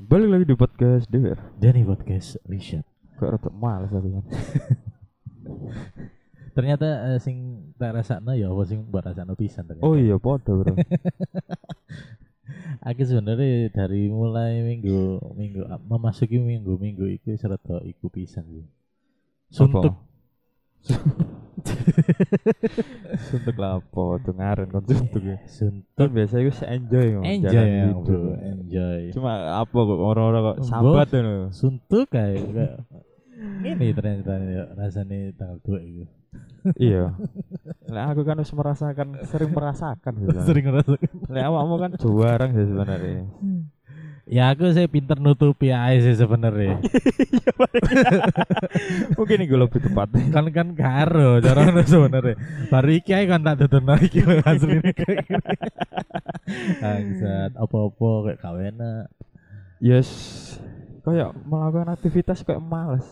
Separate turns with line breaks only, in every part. Balik lagi di podcast DWR.
Jadi podcast Richard.
Gak rata males aku kan.
Ternyata eh, sing tak rasakno ya apa sing mbak rasakno pisan ternyata.
Oh iya, podo bro.
Aku sebenarnya dari mulai minggu minggu memasuki minggu minggu itu serta iku pisan sih. Suntuk.
suntuk lapo, tuh ngaren kon suntuk ya. Kan
Suntuk.
biasa iku enjoy ngomong
Enjoy
jalan
ya,
hidup.
bro. Enjoy.
Cuma apa kok orang-orang kok
Mbok.
sambat ngono.
Suntuk kayak kayak ini ternyata ya, rasanya tanggal dua itu.
Iya. Lah aku kan harus merasakan, sering merasakan sebenarnya.
Sering ngerasakan.
Lah awakmu kan juarang sih sebenarnya.
Ya aku saya pinter nutupi aja sih sebenarnya.
Mungkin iku lebih tepat.
kan kan karo cara ngono sebenarnya baru iki ae kan tak dudono iki lho asline bangsat apa-apa kayak gak enak
Yes. Kayak melakukan aktivitas kayak males.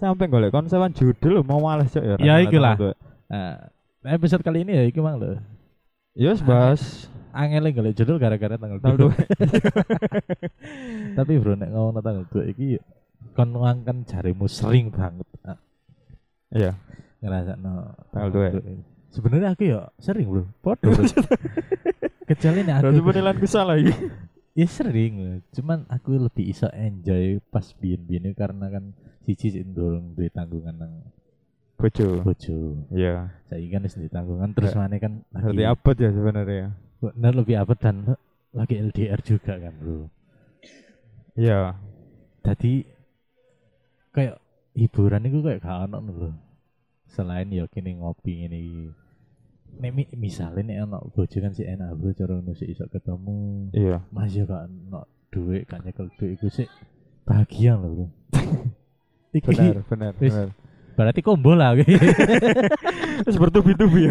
Sampai golek konsepan judul mau males cok ya.
Ya,
Rano,
ikulah.
temen-temen.
nah, episode kali ini ya iki mang lho
Yes, Bas.
angel golek judul gara-gara tanggal
Tanggal
2 tapi bro nek ngomong tanggal 2 iki ya, kon ngangkan jarimu sering banget Nah,
Iya,
ngerasa no
Tanggal dua. ya?
sebenarnya aku ya sering bro podo bro. kecuali nek aku
berarti penilaianku salah iki.
Ya sering lah, cuman aku lebih iso enjoy pas biyen-biyen karena kan siji sik ndolong duwe tanggungan nang
Bojo.
bojo.
Iya.
Saiki kan wis duwe tanggungan terus mana kan
Berarti abot ya sebenarnya.
bener lebih abet dan lagi LDR juga kan, Bro.
Iya.
Jadi kayak hiburan itu kayak gak ono ngono, Bro. Selain ya kini ngopi ini Nek mi- misalnya nek ono bojo kan sih enak bro cara ngono sih iso ketemu.
Iya.
Mas ya gak ono duit, gak nyekel duit iku sih bahagia loh bro. Iki
Benar, benar,
Wis.
benar.
berarti combo lah.
Terus bertubi-tubi ya.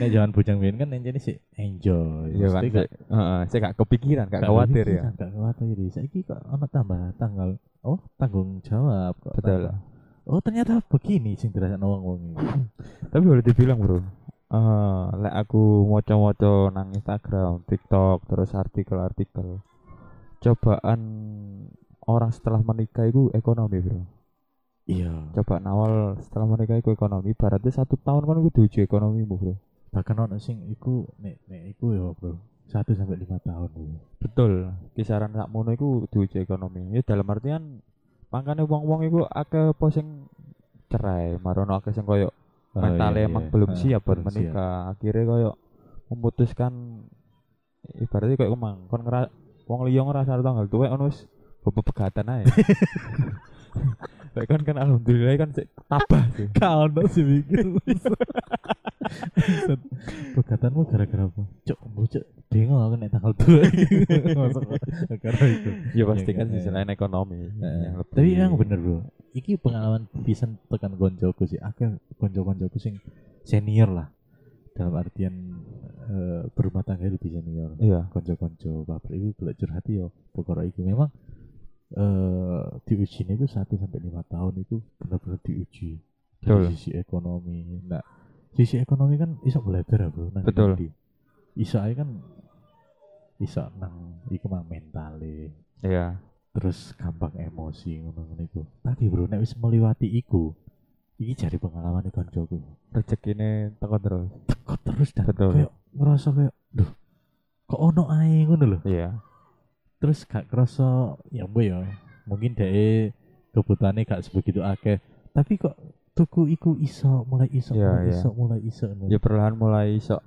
Nek jangan bujang biyen kan enjene sih enjoy.
Iya kan.
Mesti
sik. Heeh, saya gak kepikiran, gak
gak
khawatir ya.
kepikiran, Gak khawatir. Saiki kok ono tambah tanggal oh tanggung jawab kok.
Betul.
tambah- Oh ternyata begini sing dirasakno wong-wong iki.
Tapi boleh dibilang, Bro. Eh, lek aku moco-moco nang Instagram, TikTok, terus artikel-artikel. Cobaan orang setelah menikah itu ekonomi, Bro.
Iya.
Coba awal setelah menikah itu ekonomi, berarti satu tahun kan kudu uji ekonomimu, Bro.
Bahkan ono sing iku nek nek iku ya bro. 1 sampai 5 tahun bro.
Betul. Kisaran sakmono iku diuji ekonomi. Ya dalam artian makanya wong-wong iku akeh apa sing cerai, marono akeh sing koyo mentale emang iya, Eh, belum
Ah,
siap buat
belum siap.
menikah. Akhirnya koyo memutuskan ibaratnya koyo emang kon ngera wong liya ngerasa arep tanggal tuwek ono wis bebegatan ae. Lek kon kan alhamdulillah kan sik tabah sih.
Kau ono sih mikir. Bangsat. Pegatanmu gara-gara apa? Cuk, mbok cuk bingung aku nek tanggal 2. Masuk gara itu. Ya,
Ya pasti
Iya,
kan
iya.
sisi lain ekonomi. yang lebih- Iya.
Tapi yang bener bro, iki pengalaman pisan tekan koncoku sih. Aku konco-koncoku sing senior lah. Dalam artian eh, berumah tangga lebih senior.
Iya.
Konco-konco pabrik itu boleh curhat yo. Perkara iki memang eh diuji itu 1 sampai 5 tahun itu benar-benar diuji dari
Betul.
sisi ekonomi. Nah, sisi ekonomi kan iso belajar ya, Bro. Nang
Betul.
ngendi. Iso ae kan iso nang iku mang mentale,
Iya.
terus gampang emosi ngono-ngono iku. Tapi Bro nek wis meliwati iku, iki jari pengalaman e kancaku.
Rezekine teko terus.
Teko terus dan
Betul.
kayak ngerasa kayak, duh, kok ono ae ngono lho.
Iya.
terus gak kerasa ya bu ya mungkin deh kebutuhannya gak sebegitu akeh tapi kok tuku iku iso mulai iso
Iya,
mulai
iya.
iso mulai iso
Ya perlahan mulai iso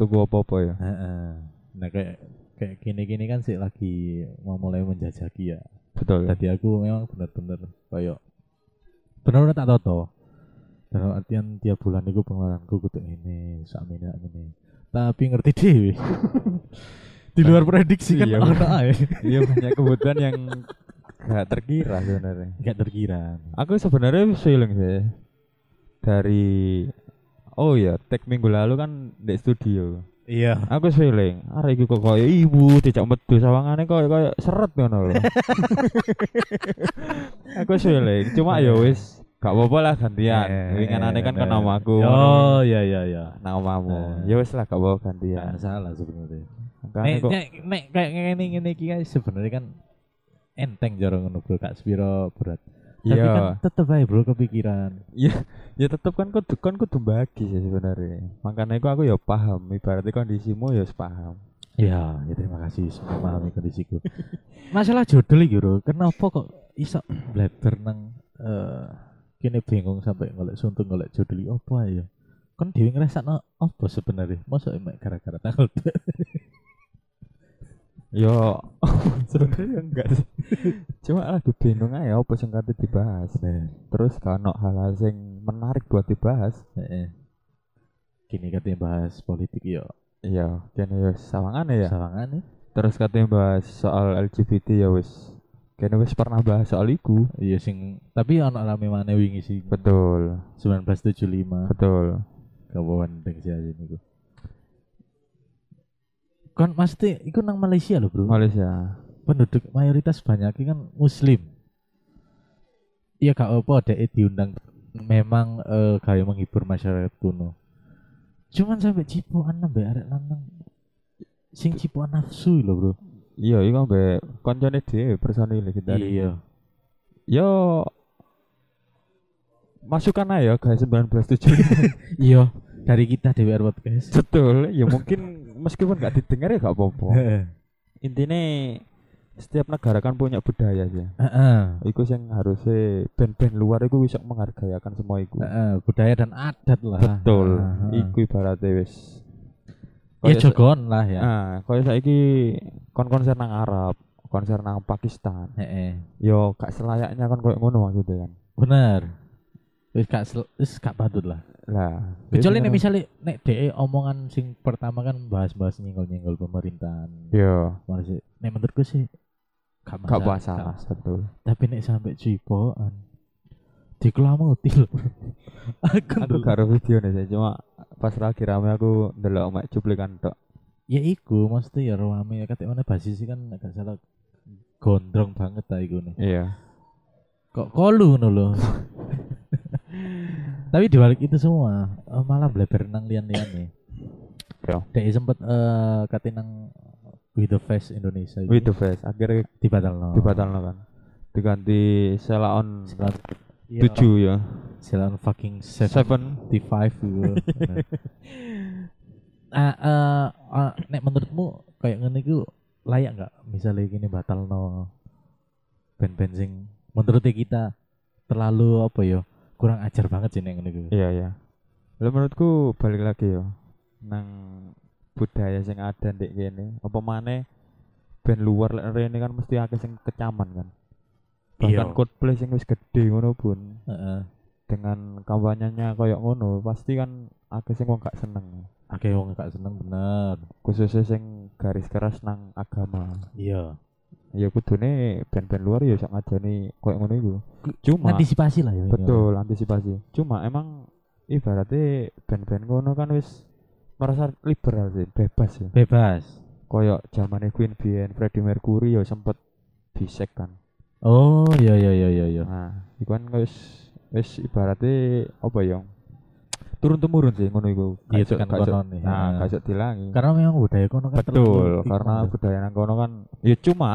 tunggu apa-apa ya.
Heeh. nah kayak kayak gini-gini kan sih lagi mau mulai menjajaki ya
Betul.
tadi aku memang bener-bener kayak bener-bener tak toto dalam artian tiap bulan itu pengeluaranku kudu ini sak ini ini tapi ngerti dewe di luar prediksi kan
Iya,
ono ae
Iya banyak kebutuhan yang gak terkira sebenarnya.
gak terkira
Aku sebenarnya feeling sih dari Oh ya, tag minggu lalu kan di studio.
iya
Aku feeling, arek iki kok koyo ibu, dijak metu sawangane koyo koyo seret ngono lho. aku feeling, cuma ya wis gak apa-apa lah gantian.
Eh,
Winginane kan
eh,
kena
eh.
aku.
Oh iya iya iya.
nang omamu.
Eh.
Ya wis lah gak apa-apa
Ya
gantian.
salah sebenarnya.
Kan
Nek
kok
nek nek kayak ngene ngene iki kan sebenarnya kan enteng cara ngono bro kak sepiro berat tapi kan
Iya.
tetep aja bro kepikiran
Ya tetep kan kudu kan kudu bagi sih sebenarnya. Makanya aku aku ya paham. Ibaratnya kondisimu ya paham.
ya, ya terima kasih sudah memahami kondisiku masalah jodoh iki bro kenapa kok iso blader nang eh kene bingung sampai golek suntung golek jodoh iki opo ae ya kan dhewe ngrasakno opo sebenarnya masa emek gara-gara tanggal
Yo Ya, sebenarnya enggak sih. Cuma lagi bingung aja apa sing kate dibahas.
Nah.
Terus kalau hal-hal sing menarik buat dibahas,
Heeh. Kini katanya bahas politik ya.
iya kene yo sawangane ya.
Sawangan ya.
Terus katanya bahas soal LGBT ya wis. Kene wis pernah bahas soal iku.
Iya sing tapi anak rame mana wingi sih.
Betul,
1975
betul.
kawan deng si Azim iku. Kan mesti iku nang Malaysia loh, Bro.
Malaysia.
Penduduk mayoritas banyak kan muslim. Iya gak apa dek diundang memang eh kayak menghibur masyarakat kuno. Cuman sampai cipuan nambah arek lanang. Sing cipuan nafsu loh, Bro.
Iya, iku mbek koncone dhewe personil dari.
Iya.
Yo masukkan aja ya, guys 1975
Iya, dari kita DWR Podcast.
betul ya mungkin meskipun nggak didengar ya nggak apa-apa intinya setiap negara kan punya budaya sih
Heeh.
Iku sing harusnya band-band luar iku bisa menghargai akan semua iku.
Heeh, budaya dan adat lah.
Betul.
Heeh.
Iku ibaratnya wis.
ah, Ya
Kayak sa-
jogon lah ya.
Ah, kaya saiki kon konser nang Arab, konser nang Pakistan.
Heeh.
Yo gak selayaknya kon koyo ngono maksudnya kan.
Bener. Wis gak sel- wis gak patut lah.
Lah, kan-
Kecuali
ini
nek misale nek DE omongan sing pertama kan bahas-bahas nyenggol-nyenggol pemerintahan.
Yo,
Malah sih nek menurutku sih gak masalah.
Ya. gak masalah betul.
Tapi nek sampai cipokan dikelamuti lho. Aku
Aku
ndelok.
gak ada video nih sih, cuma pas lagi rame aku ndelok mek cuplikan tok.
ya iku mesti ya ruame kate mana basis kan nek gak salah gondrong banget ta iku nih
Iya.
kok kolu ngono lho tapi dibalik itu semua eh, malah bleber nang lian-lian nih
Yo.
Dek sempet eh kate nang with the face Indonesia iku
With the face akhirnya
dibatalno
dibatalkan kan. Diganti Sela on
Selan- iya,
7 ya.
selan fucking seven
Seven.
75 gitu nah eh, eh, nek menurutmu kayak ngene iku layak nggak misalnya gini batal no band-band sing menurutnya kita terlalu apa ya kurang ajar banget sih nek ngene iku
Iya iya. Lah menurutku balik lagi yo nang budaya sing ada ndek kene. Apa maneh band luar lek rene kan mesti akeh sing kecaman kan. Bahkan Coldplay sing wis gede ngono pun
Heeh.
dengan kampanyenya koyok ngono pasti kan akeh sing wong gak seneng.
akeh wong gak seneng bener
Khususnya sing garis keras nang agama.
iya
Ya kudune band-band luar ya sak ngajeni koyok ngono iku. Cuma
antisipasi lah ya
Betul, antisipasi. Cuma emang ibaratnya band-band ngono kan wis merasa liberal sih, bebas sih.
ya. bebas
Koyok zamane Queen Bien, Freddie Mercury ya sempet bisek kan.
oh iya iya iya iya iya
Nah, iku kan wis wis ibaratnya apa ya? Turun temurun sih ngono iku. Gak
Iya,
iso-
tekan
gak iso-
konon ya.
Nah, gak iso dilangi.
karena memang budaya kono kan
Betul,
terlalu-
karena budaya nang kono kan ya cuma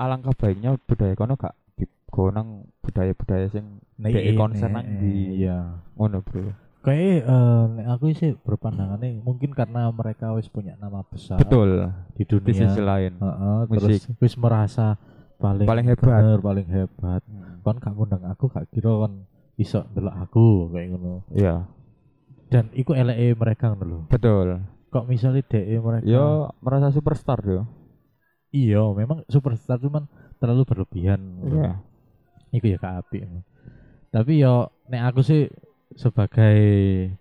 alangkah baiknya budaya kono gak digonang budaya-budaya sing
Nek
dek
ini,
konser nang
eh,
di-
iya
ngono, Bro.
Kayak eh, aku sih berpandangannya mungkin karena mereka wis punya nama besar
Betul,
di
di
dunia.
sisi lain.
Heeh,
musik.
terus wis merasa paling
Paling hebat.
bener, paling hebat.
Hmm.
Kon gak ngundang aku gak kira kon iso ndelok aku kayak ngono.
Iya.
Dan iku eleke mereka ngono lho.
Betul.
Kok misalnya DE mereka
Yo merasa superstar yo.
iya memang superstar cuman terlalu berlebihan.
Iya.
ngono. Iku ya gak apik. ngono. Tapi yo nek aku sih sebagai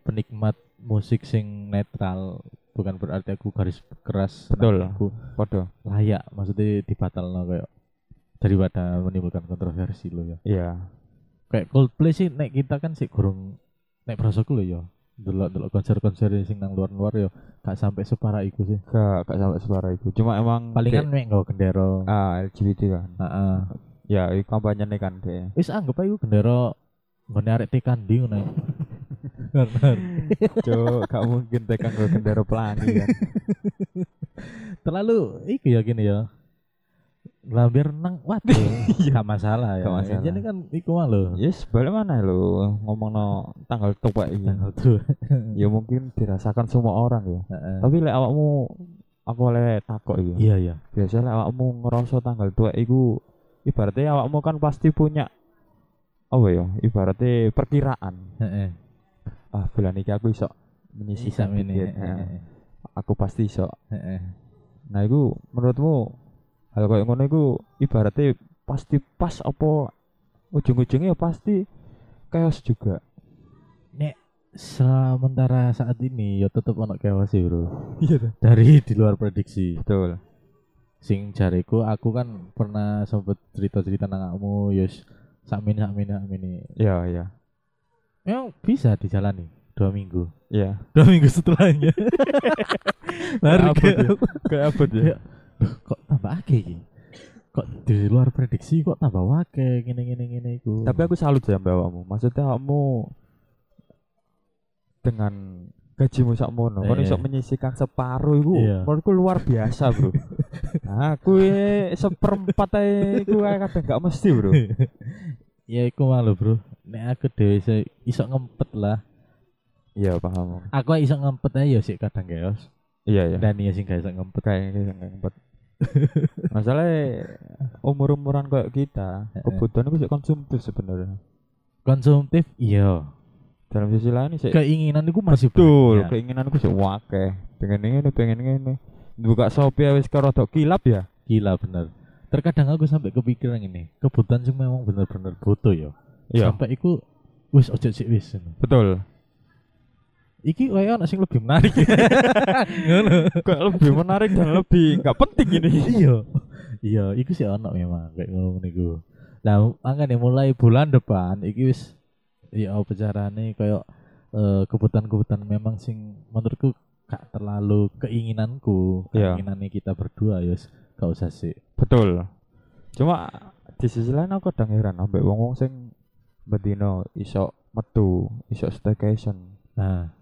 penikmat musik sing netral bukan berarti aku garis keras
Betul.
nang aku
Podo.
layak maksudnya dibatalno kayak daripada menimbulkan kontroversi lo ya
Iya.
kayak Coldplay sih nek kita kan sih gurung nek prosoku lo ya delok delok konser konser sing nang luar luar ya gak sampai separah iku sih
Gak gak sampai suara itu. Cuma emang
palingan
dek-
nek nggawa gendera
ah LGBT kan.
heeh
Ya, itu kampanye nih kan deh.
wis anggap aja iku gendera nggone arek tekandi ngono ya. Bener.
Cuk, gak mungkin tekan gue gendera pelangi kan.
terlalu iku ya gini ya Lambe renang waduh gak masalah ya.
Gak masalah. Iya,
Jadi kan iku mah lho.
Yes, balik mana lo ngomong tanggal tua ini.
Tanggal tuh.
Ya mungkin dirasakan semua orang ya. Tapi lek awakmu aku oleh takok ya.
Iya iya.
Biasanya lek awakmu ngerasa tanggal tua iku ibaratnya awakmu kan pasti punya apa ya? Ibaratnya perkiraan.
Heeh.
Ah, bulan iki aku iso menyisihkan
Sisa Iya, ini.
dikit. Nah, aku pasti iso.
Heeh.
Nah, iku menurutmu hal kayak ngono iku ibaratnya pasti pas apa ujung-ujungnya ya pasti chaos juga.
Sementara saat ini ya tetep ono chaos sih, Bro.
Iya
Dari di luar prediksi.
Betul.
Sing jariku aku kan pernah sempet cerita-cerita nang kamu, yus sakmene sakmene sakmene.
Iya, iya.
Memang bisa dijalani dua minggu.
Iya.
Dua minggu setelahnya.
Kayak
Baru ke-
abot Kayak abot ya.
Iya. Loh, kok tambah akeh iki? Kok di luar prediksi kok tambah akeh ngene-ngene ngene iku.
Tapi aku salut ya mbak awakmu. Maksudnya awakmu dengan gajimu sak mono, kon
Eh.
iso menyisihkan separuh iku.
Iya.
Menurutku luar biasa, Bro. aku ya seperempat ae iku ae kadang gak mesti, Bro.
ya iku malu, Bro. Nek aku dhewe iso, iso ngempet lah.
Iya, paham.
Aku iso ngempet aja ya sih kadang chaos.
Iya, iya.
Dan iya sih gak iso ngempet.
kayak kayak kayak empat masalahnya umur umuran e kayak kita
Heeh.
kebutuhan itu sih konsumtif sebenarnya
Konsumtif iya.
dalam sisi lain sih
Keinginan iku masih
betul
banyak.
keinginanku sih wake pengen ini pengen ini buka shopee wis karo rodok kilap ya
Gila bener. Terkadang aku sampai kepikiran ini, kebutuhan sing memang bener-bener butuh ya. Sampai iku wis ojo sik wis.
betul
Iki wae ana sing lebih menarik. Ngono.
kok lebih menarik dan lebih nggak penting ini
iya iya iku sih ono memang kayak ngomong niku nah makanya mulai bulan depan iki wis ya apa carane kayak eh, kebutuhan-kebutuhan memang sing menurutku gak terlalu keinginanku
Iya.
keinginannya kita berdua ya wis, gak usah sih
betul cuma di sisi lain aku kadang heran ambek wong wong sing bedino iso metu iso staycation
nah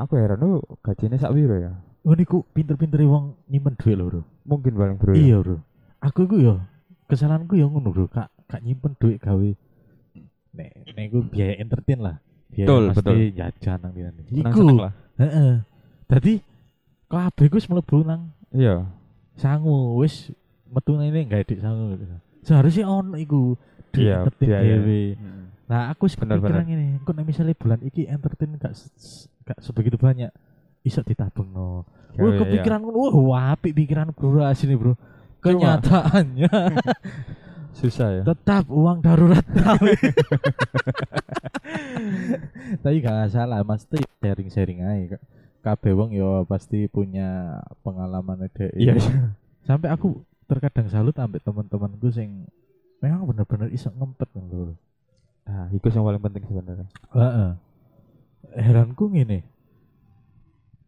aku heran lu gajinya sak piro ya
oh niku pinter-pinter wong nyimpen duit lho bro
mungkin paling bro ya?
iya bro aku ku yo kesalahanku yo ngono bro kak kak nyimpen duit gawe nek nek ku biaya entertain lah biaya
Betul,
pasti
betul.
jajan nang dina
Seneng-seneng
iku
lah.
Heeh. Dadi kabeh ku wis mlebu nang
iya
sangu wis metu nang ini gak dik sangu. gitu. Seharusnya ono iku di
Iya,
entertain
iya, iya.
dhewe.
Mm.
Nah, aku wis
Bener,
kepikiran ngene, engko nek misale bulan iki entertain gak se- se- gak sebegitu banyak iso ditabungno. Wah,
Iya, iya.
kepikiran ngono. Wah, apik pikiran bro asine, Bro.
Cuma-
Kenyataannya
susah ya
tetap uang darurat tapi tapi gak salah mesti sharing sharing aja Kak. kabeh wong yo pasti punya pengalaman dhewe
iya iya.
sampai aku terkadang salut sampai teman-temanku sing memang bener-bener iso ngempet lho
nah itu yang paling penting sebenarnya
heeh heranku ngene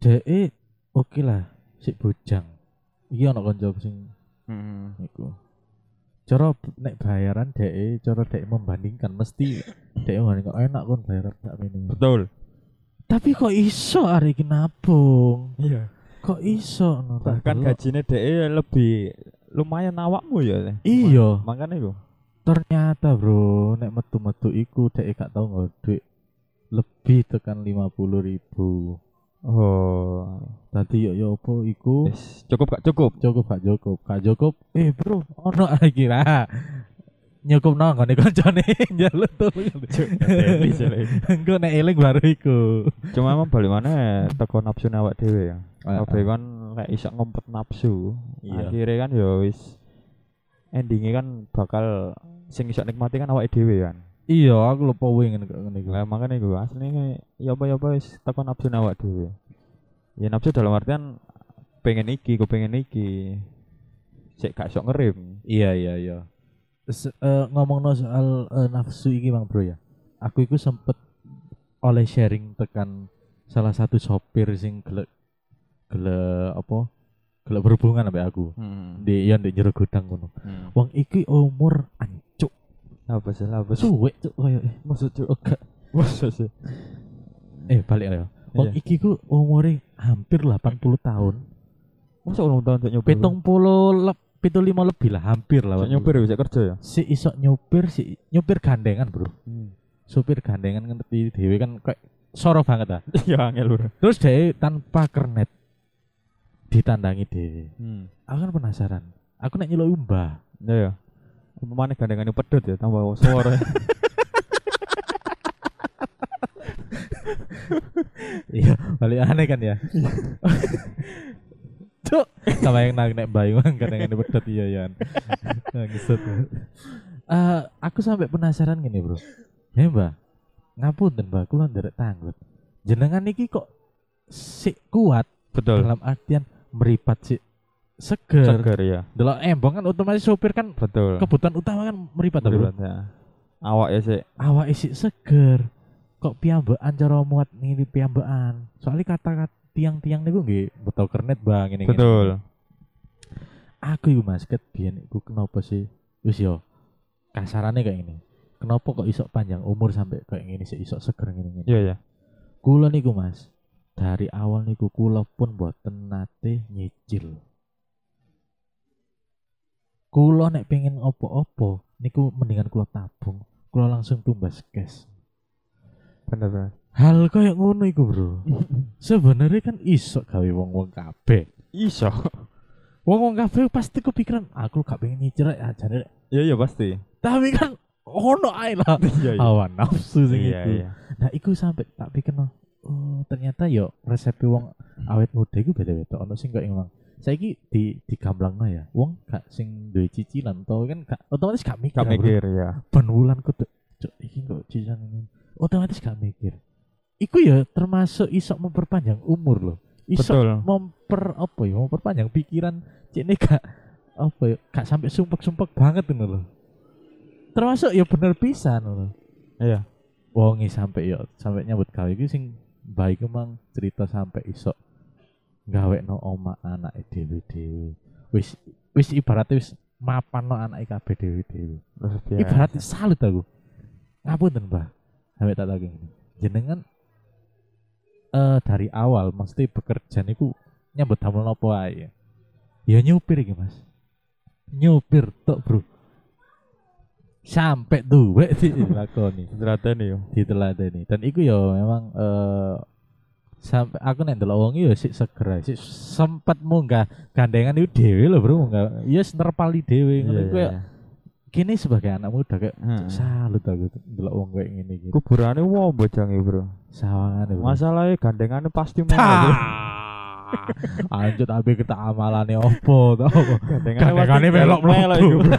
dhek oke lah sik bojang iki ana kanca sing
Hmm.
Iku. Cara b- nek bayaran dhek, e, cara dhek membandingkan mesti dhek membandingkan enak kon bayaran tak ini.
betul
Tapi kok iso hari iki nabung?
iya
Kok iso no tak
bahkan
delok.
gajinya DE lebih lumayan awakmu ya
Iya,
makanya itu
ternyata bro, nek metu-metu iku dhek e gak tau nggo duit lebih tekan 50 ribu
oh
Tadi yo yo opo iku
yes. cukup gak cukup
cukup gak cukup, gak cukup. Eh bro, ono hari iki lah. Nyukup nang ngene kancane njaluk tolong. Engko nek eling baru iku.
cuma emang balik mana teko nafsu awak dewe ya Kabeh kan kayak iso ngempet nafsu
Iya.
akhirnya kan ya wis endingnya kan bakal sing iso nikmati kan awake dhewe kan
Iya, aku lupa wing ngene kok ngene iku.
lah makanya gue aslinya ya apa ya apa wis tekan nafsu awak dhewe ya nafsu dalam artian pengen iki gue pengen iki cek gak sok ngerim
Iya, iya, iya. Se- eh, ngomongno soal eh, nafsu iki Bang Bro ya. Aku iku sempet oleh sharing tekan salah satu sopir sing gelek gelek apa? Gelek berhubungan ambek aku.
Hmm,
Di ya di jero gudang ngono. Wong iki umur ancuk
apa sih lah apa sih
suwek cuk koyo
maksud cuk
Oh, gak-
maksud sih
eh balik ya.
Iya.
Wong iki ku umure hampir 80 tahun.
masa ulang tahun cuk nyoba
Pitung puluh lep- pitu lima lebih lah hampir lah
Cek
waktu
nyupir
itu.
bisa kerja ya
si isok nyupir si nyupir gandengan bro
Hmm.
supir gandengan kan tapi dewe kan kayak soro banget lah
ya angel bro
terus dewe tanpa kernet ditandangi dewe
hmm.
aku kan penasaran aku nek nyeluk mbah
ya ya Mana gandengannya pedut ya tambah suara
iya balik aneh kan ya cuk sama yang nang nek mbah yang gandengan pedot iya iya
Nah,
ngeset Eh, aku sampai penasaran gini bro ya mbah ngapunten mbah kula nderek tanggut jenengan iki kok sik kuat
betul
dalam artian meripat sih seger.
seger ya
Delok embong kan otomatis sopir kan
betul
kebutuhan utama kan meripat ta, Bro.
Betul, ya. awak ya sih
Awak isi seger. Kok piyambakan cara muat ngene piyambakan. Soalnya kata-kata tiang-tiang niku nggih beto kernet Bang ini.
betul
Aku iku Mas ket biyen iku kenapa sih? Wis yo kasarannya kayak gini. Kenapa kok isok panjang umur sampai kayak gini sih isok seger ngene-ngene.
iya ya
Kula niku Mas dari awal niku kula pun boten nate nyicil. Kula nek pengen opo-opo niku mendingan kula tabung, kula langsung tumbas cash.
bener bener
Hal kayak ngono iku, Bro. Sebenarnya kan iso gawe wong-wong kabeh.
iso
Wong-wong kabeh pasti kepikiran, aku gak pengen nyicil aja deh."
iya iya pasti
Tapi kan ono ae lah.
iya
Hawa nafsu sing
iya
iku.
iya
Nah, iku sampai tak pikir no, oh ternyata yo resep wong awet muda iku beda-beda. Ono sing kok emang saiki di digamblangno ya. Wong gak sing duwe cicilan to kan gak otomatis gak mikir.
gak mikir ya
Ben wulan kudu cuk iki kok cicilan ini. Otomatis gak mikir. Iku ya termasuk isok memperpanjang umur loh. Isok
betul
memper apa ya memperpanjang pikiran cek ini gak apa ya gak sampai sumpek-sumpek banget ngono loh. Termasuk ya bener pisan loh
iya
wongi sampai yo sampai nyambut gawe iki sing baik emang cerita sampai isok gawe no oma anak dewi dewi wis wis ibaratnya wis mapan no anak kabeh dewi dewi
Terus dia-
ibaratnya salut aku ngapunten mbah sampai tak lagi jenengan eh dari awal mesti bekerja niku nyambut damel nopo ae ya nyupir iki mas nyupir tok bro sampai duwe dilakoni
Diteladani yo.
diteladani dan iku ya memang eh sampai aku nek ndelok wong ya sik seger ae. sik sempat munggah gandengan itu dhewe lho bro munggah ya yes, nerpali
Iya,
dhewe ngono iku ya kini sebagai anak muda kayak
Heeh.
salut aku tuh ndelok wong kayak ngene iki
Kuburane wong bojange, Iya, Bro.
sawangane bro. ya,
Masalahnya gandengane pasti mau. Bro.
Tah. anjut abe kita amalane opo to Gandengane
pasti
melok
melok
mlebu.
iku, Bro.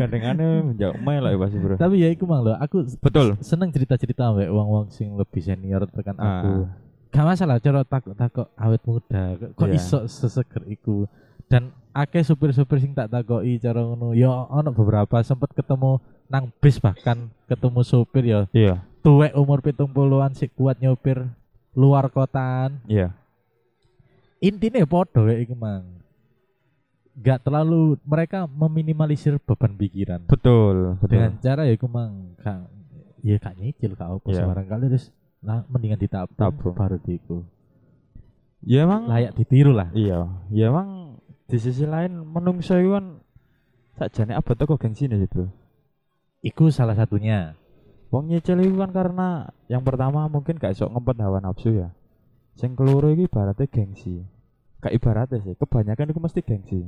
Gandengane menjak melok ya pasti, Bro.
tapi ya iku mang lho aku
Betul.
seneng cerita-cerita ambek wong-wong sing lebih senior tekan aku
Ah.
gak masalah cara takut takut awet muda kok kok
Iya.
iso seseger iku dan akeh supir-supir sing tak takoki cara ngono ya ono beberapa sempet ketemu nang bis bahkan ketemu supir ya
Iya,
tuwek umur pitung puluhan sik kuat nyopir luar kotaan
iya.
intinya podo ya iku mang gak terlalu mereka meminimalisir beban pikiran
Betul,
dengan
betul.
cara ya iku mang gak ya gak nyicil gak apa
Iya.
sembarang kali terus nah, mendingan ditabung
Tabung.
baru diiku
Ya emang
layak ditiru lah
iya, ya emang di sisi lain menungso iku kan sakjane abot kok gengsi sih, Bro.
Iku salah satunya.
Wong nyicil itu kan karena yang pertama mungkin gak iso ngempet hawa nafsu ya. Sing keloro iki ibaratnya gengsi. Kayak ibaratnya sih, kebanyakan itu mesti gengsi.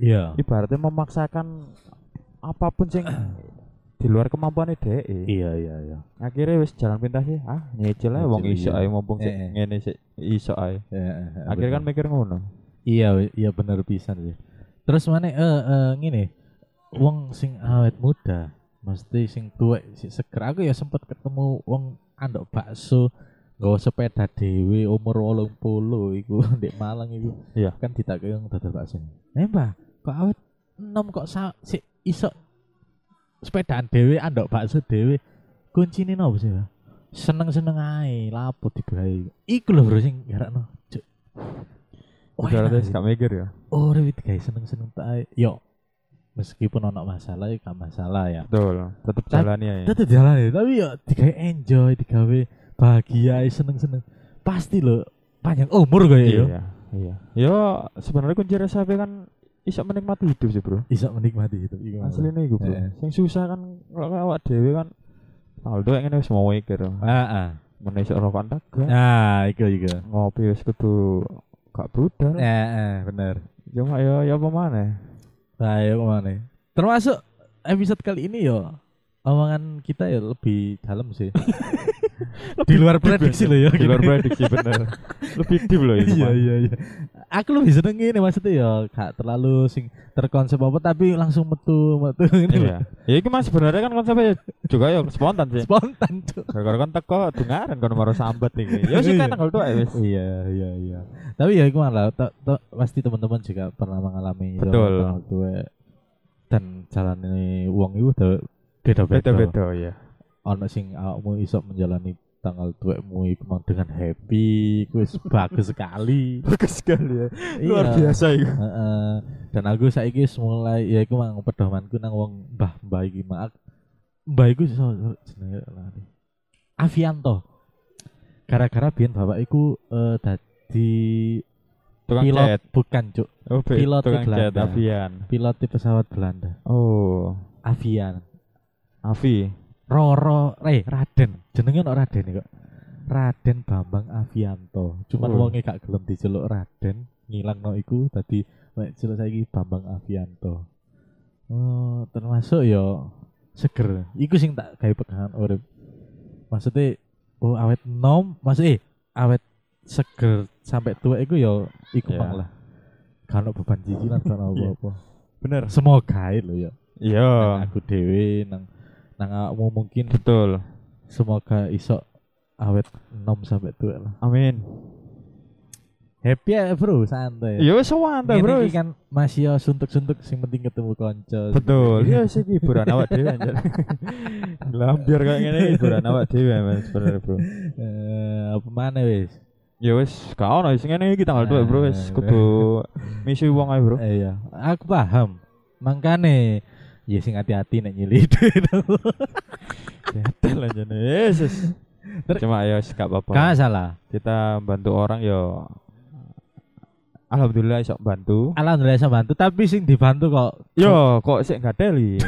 Iya.
Ibaratnya memaksakan apapun sing di luar kemampuan DE.
Iya iya iya.
Akhirnya wis jalan pintas sih. Ah, nyicil ae wong iso
Nyicil, iya.
ae mumpung sik
Eh, ya. eh.
ngene sik iso ae. Akhirnya kan mikir ngono.
iya iya bener pisan sih. Terus mana eh eh, ngene. Wong sing awet muda mesti sing tuwek sing seger. Aku ya sempet ketemu wong andok bakso nggawa sepeda dhewe umur 80 iku ndek Malang iku.
Iya.
Kan ditakoki wong dodol bakso. Eh, Mbah, kok awet enom kok sa sik iso sepedaan dhewe andok bakso dhewe. Kuncine nopo sih, Mbah? Seneng-seneng ae, laput dibae. Iku lho bro sing garakno. Cuk. Wah, iya.
Ibaratnya
enak
wis
sih.
gak mikir ya.
Urip iki Oh, guys seneng-seneng tak ae. Yo. Meskipun ono masalah ya gak masalah ya.
Betul. Tetep
Tapi-
jalani ae.
Tetep jalan ya, tapi yo digawe enjoy, digawe bahagia, ae, seneng-seneng. Pasti lho panjang umur kaya yo.
Iya, iya. Yo sebenarnya kunci resepnya kan iso menikmati hidup sih bro
iso menikmati itu iku maksudnya.
aslinya iku bro
Iya.
yang susah kan kalau kayak awak dewe kan Aldo ingin wis mau mikir
ah ah
mana iso rokokan dagang
ah iku iku
ngopi wis kudu gak budal
ah ah bener
cuma ya ya apa maneh
Nah, ya kemana? Termasuk episode kali ini yo omongan kita ya lebih dalam sih. di luar prediksi loh ya.
di luar prediksi bener lebih deep loh itu
Iya
Mas.
iya iya. Aku lebih seneng ini maksudnya ya gak terlalu sing terkonsep apa tapi langsung metu metu ini
iya ya iki mas sebenarnya kan konsepnya juga ya spontan sih
spontan tuh.
gara-gara kan teko dengaran kan baru sambat iki ya sih kan tanggal tuh wis
Iya iya iya. Tapi ya gimana? To, to, pasti teman-teman juga pernah mengalami itu,
Betul.
orang tua. dan jalan ini uang itu beda-beda.
beda-beda ya
ono sing awakmu iso menjalani tanggal tuwekmu iku memang dengan happy iku wis bagus sekali
bagus sekali ya
Iya.
itu
Heeh. dan aku saiki wis mulai ya iku mang pedomanku nang wong mbah-mbah iki mak mbah iku iso jenenge lali. Avianto gara-gara biyen bapak iku eh, dadi
tukang
pilot
jet
bukan cuk
oh, be-
pilot di
tukang jet
Belanda.
avian
pilot di pesawat Belanda
oh
Avian
avi
Roro eh Raden jenenge ono Raden iki kok Raden Bambang Avianto cuman
Oh.
wonge gak gelem diceluk Raden ngilang no iku tadi mek celuk saiki Bambang Avianto oh termasuk yo seger iku sing tak gawe pegangan urip maksudnya oh awet nom maksud eh awet seger sampai tua iku yo iku
Ya.
mang lah kalau beban cicilan kalau
Iya.
apa-apa
bener
semoga ae lho yo
iya
nang aku dhewe nang nang awakmu mungkin
betul
semoga iso awet 6 sampai tua lah.
amin
Happy ya bro, santai.
ya wis sowan ta,
Ngene
bro
iki kan masih ya suntuk-suntuk sing penting ketemu konco.
betul ya sih hiburan awak dhewe anjir lambiar kayak ngene hiburan awak dhewe mas sebenarnya bro
Eh, apa mana wis?
ya wis gak ono sing ngene iki tanggal 2 bro wis kudu misi wong ae bro
Eh, iya, aku paham. Mangkane ya sing hati-hati nek nyilih duit.
Gatel aja nih. Yesus.
Ter- Kan.
Cuma ya wis, gak apa-apa.
Gak salah.
Kita bantu orang yo. Alhamdulillah sok bantu.
Alhamdulillah saya bantu, tapi sing dibantu kok.
Yo, kok sik ngadeli.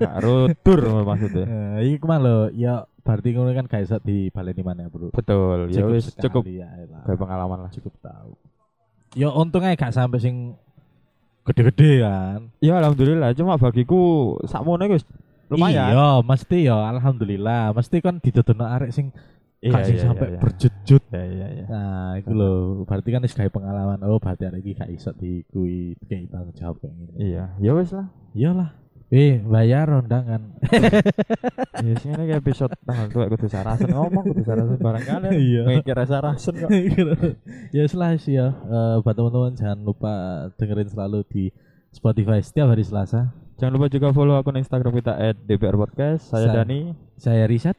Gak rutur maksudnya.
Eh, iki mah lho, ya berarti ngono kan gak iso dibaleni mana bro.
Betul. Ya wis
sekali,
cukup
ya elah.
gawe pengalaman lah.
cukup tahu. Ya untung aja gak sampai sing gede-gede kan.
Ya alhamdulillah cuma bagiku sakmono iku wis lumayan.
Iya, mesti ya alhamdulillah. Mesti kan didodokno arek sing gak sing sampai
iya.
berjut-jut.
Iya, iya, iya.
Nah, itu lho, berarti kan wis gawe pengalaman. Oh, berarti arek iki gak iso dikui kayak tanggung jawab kayak gini.
Iya, ya wis lah.
Iyalah. Eh, bayar undangan.
Ya sing ngene iki episode tanggal tuwek kudu sarasen ngomong kudu sarasen barangkali.
Iya.
Mikir sarasen kok.
ya setelah sih ya. Eh, buat teman-teman jangan lupa dengerin selalu di Spotify setiap hari Selasa.
Jangan lupa juga follow akun Instagram kita @dbrpodcast. Saya
Saya-
Dani.
Saya Riset,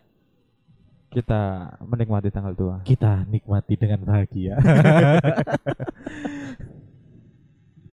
kita menikmati tanggal tua.
kita nikmati dengan bahagia.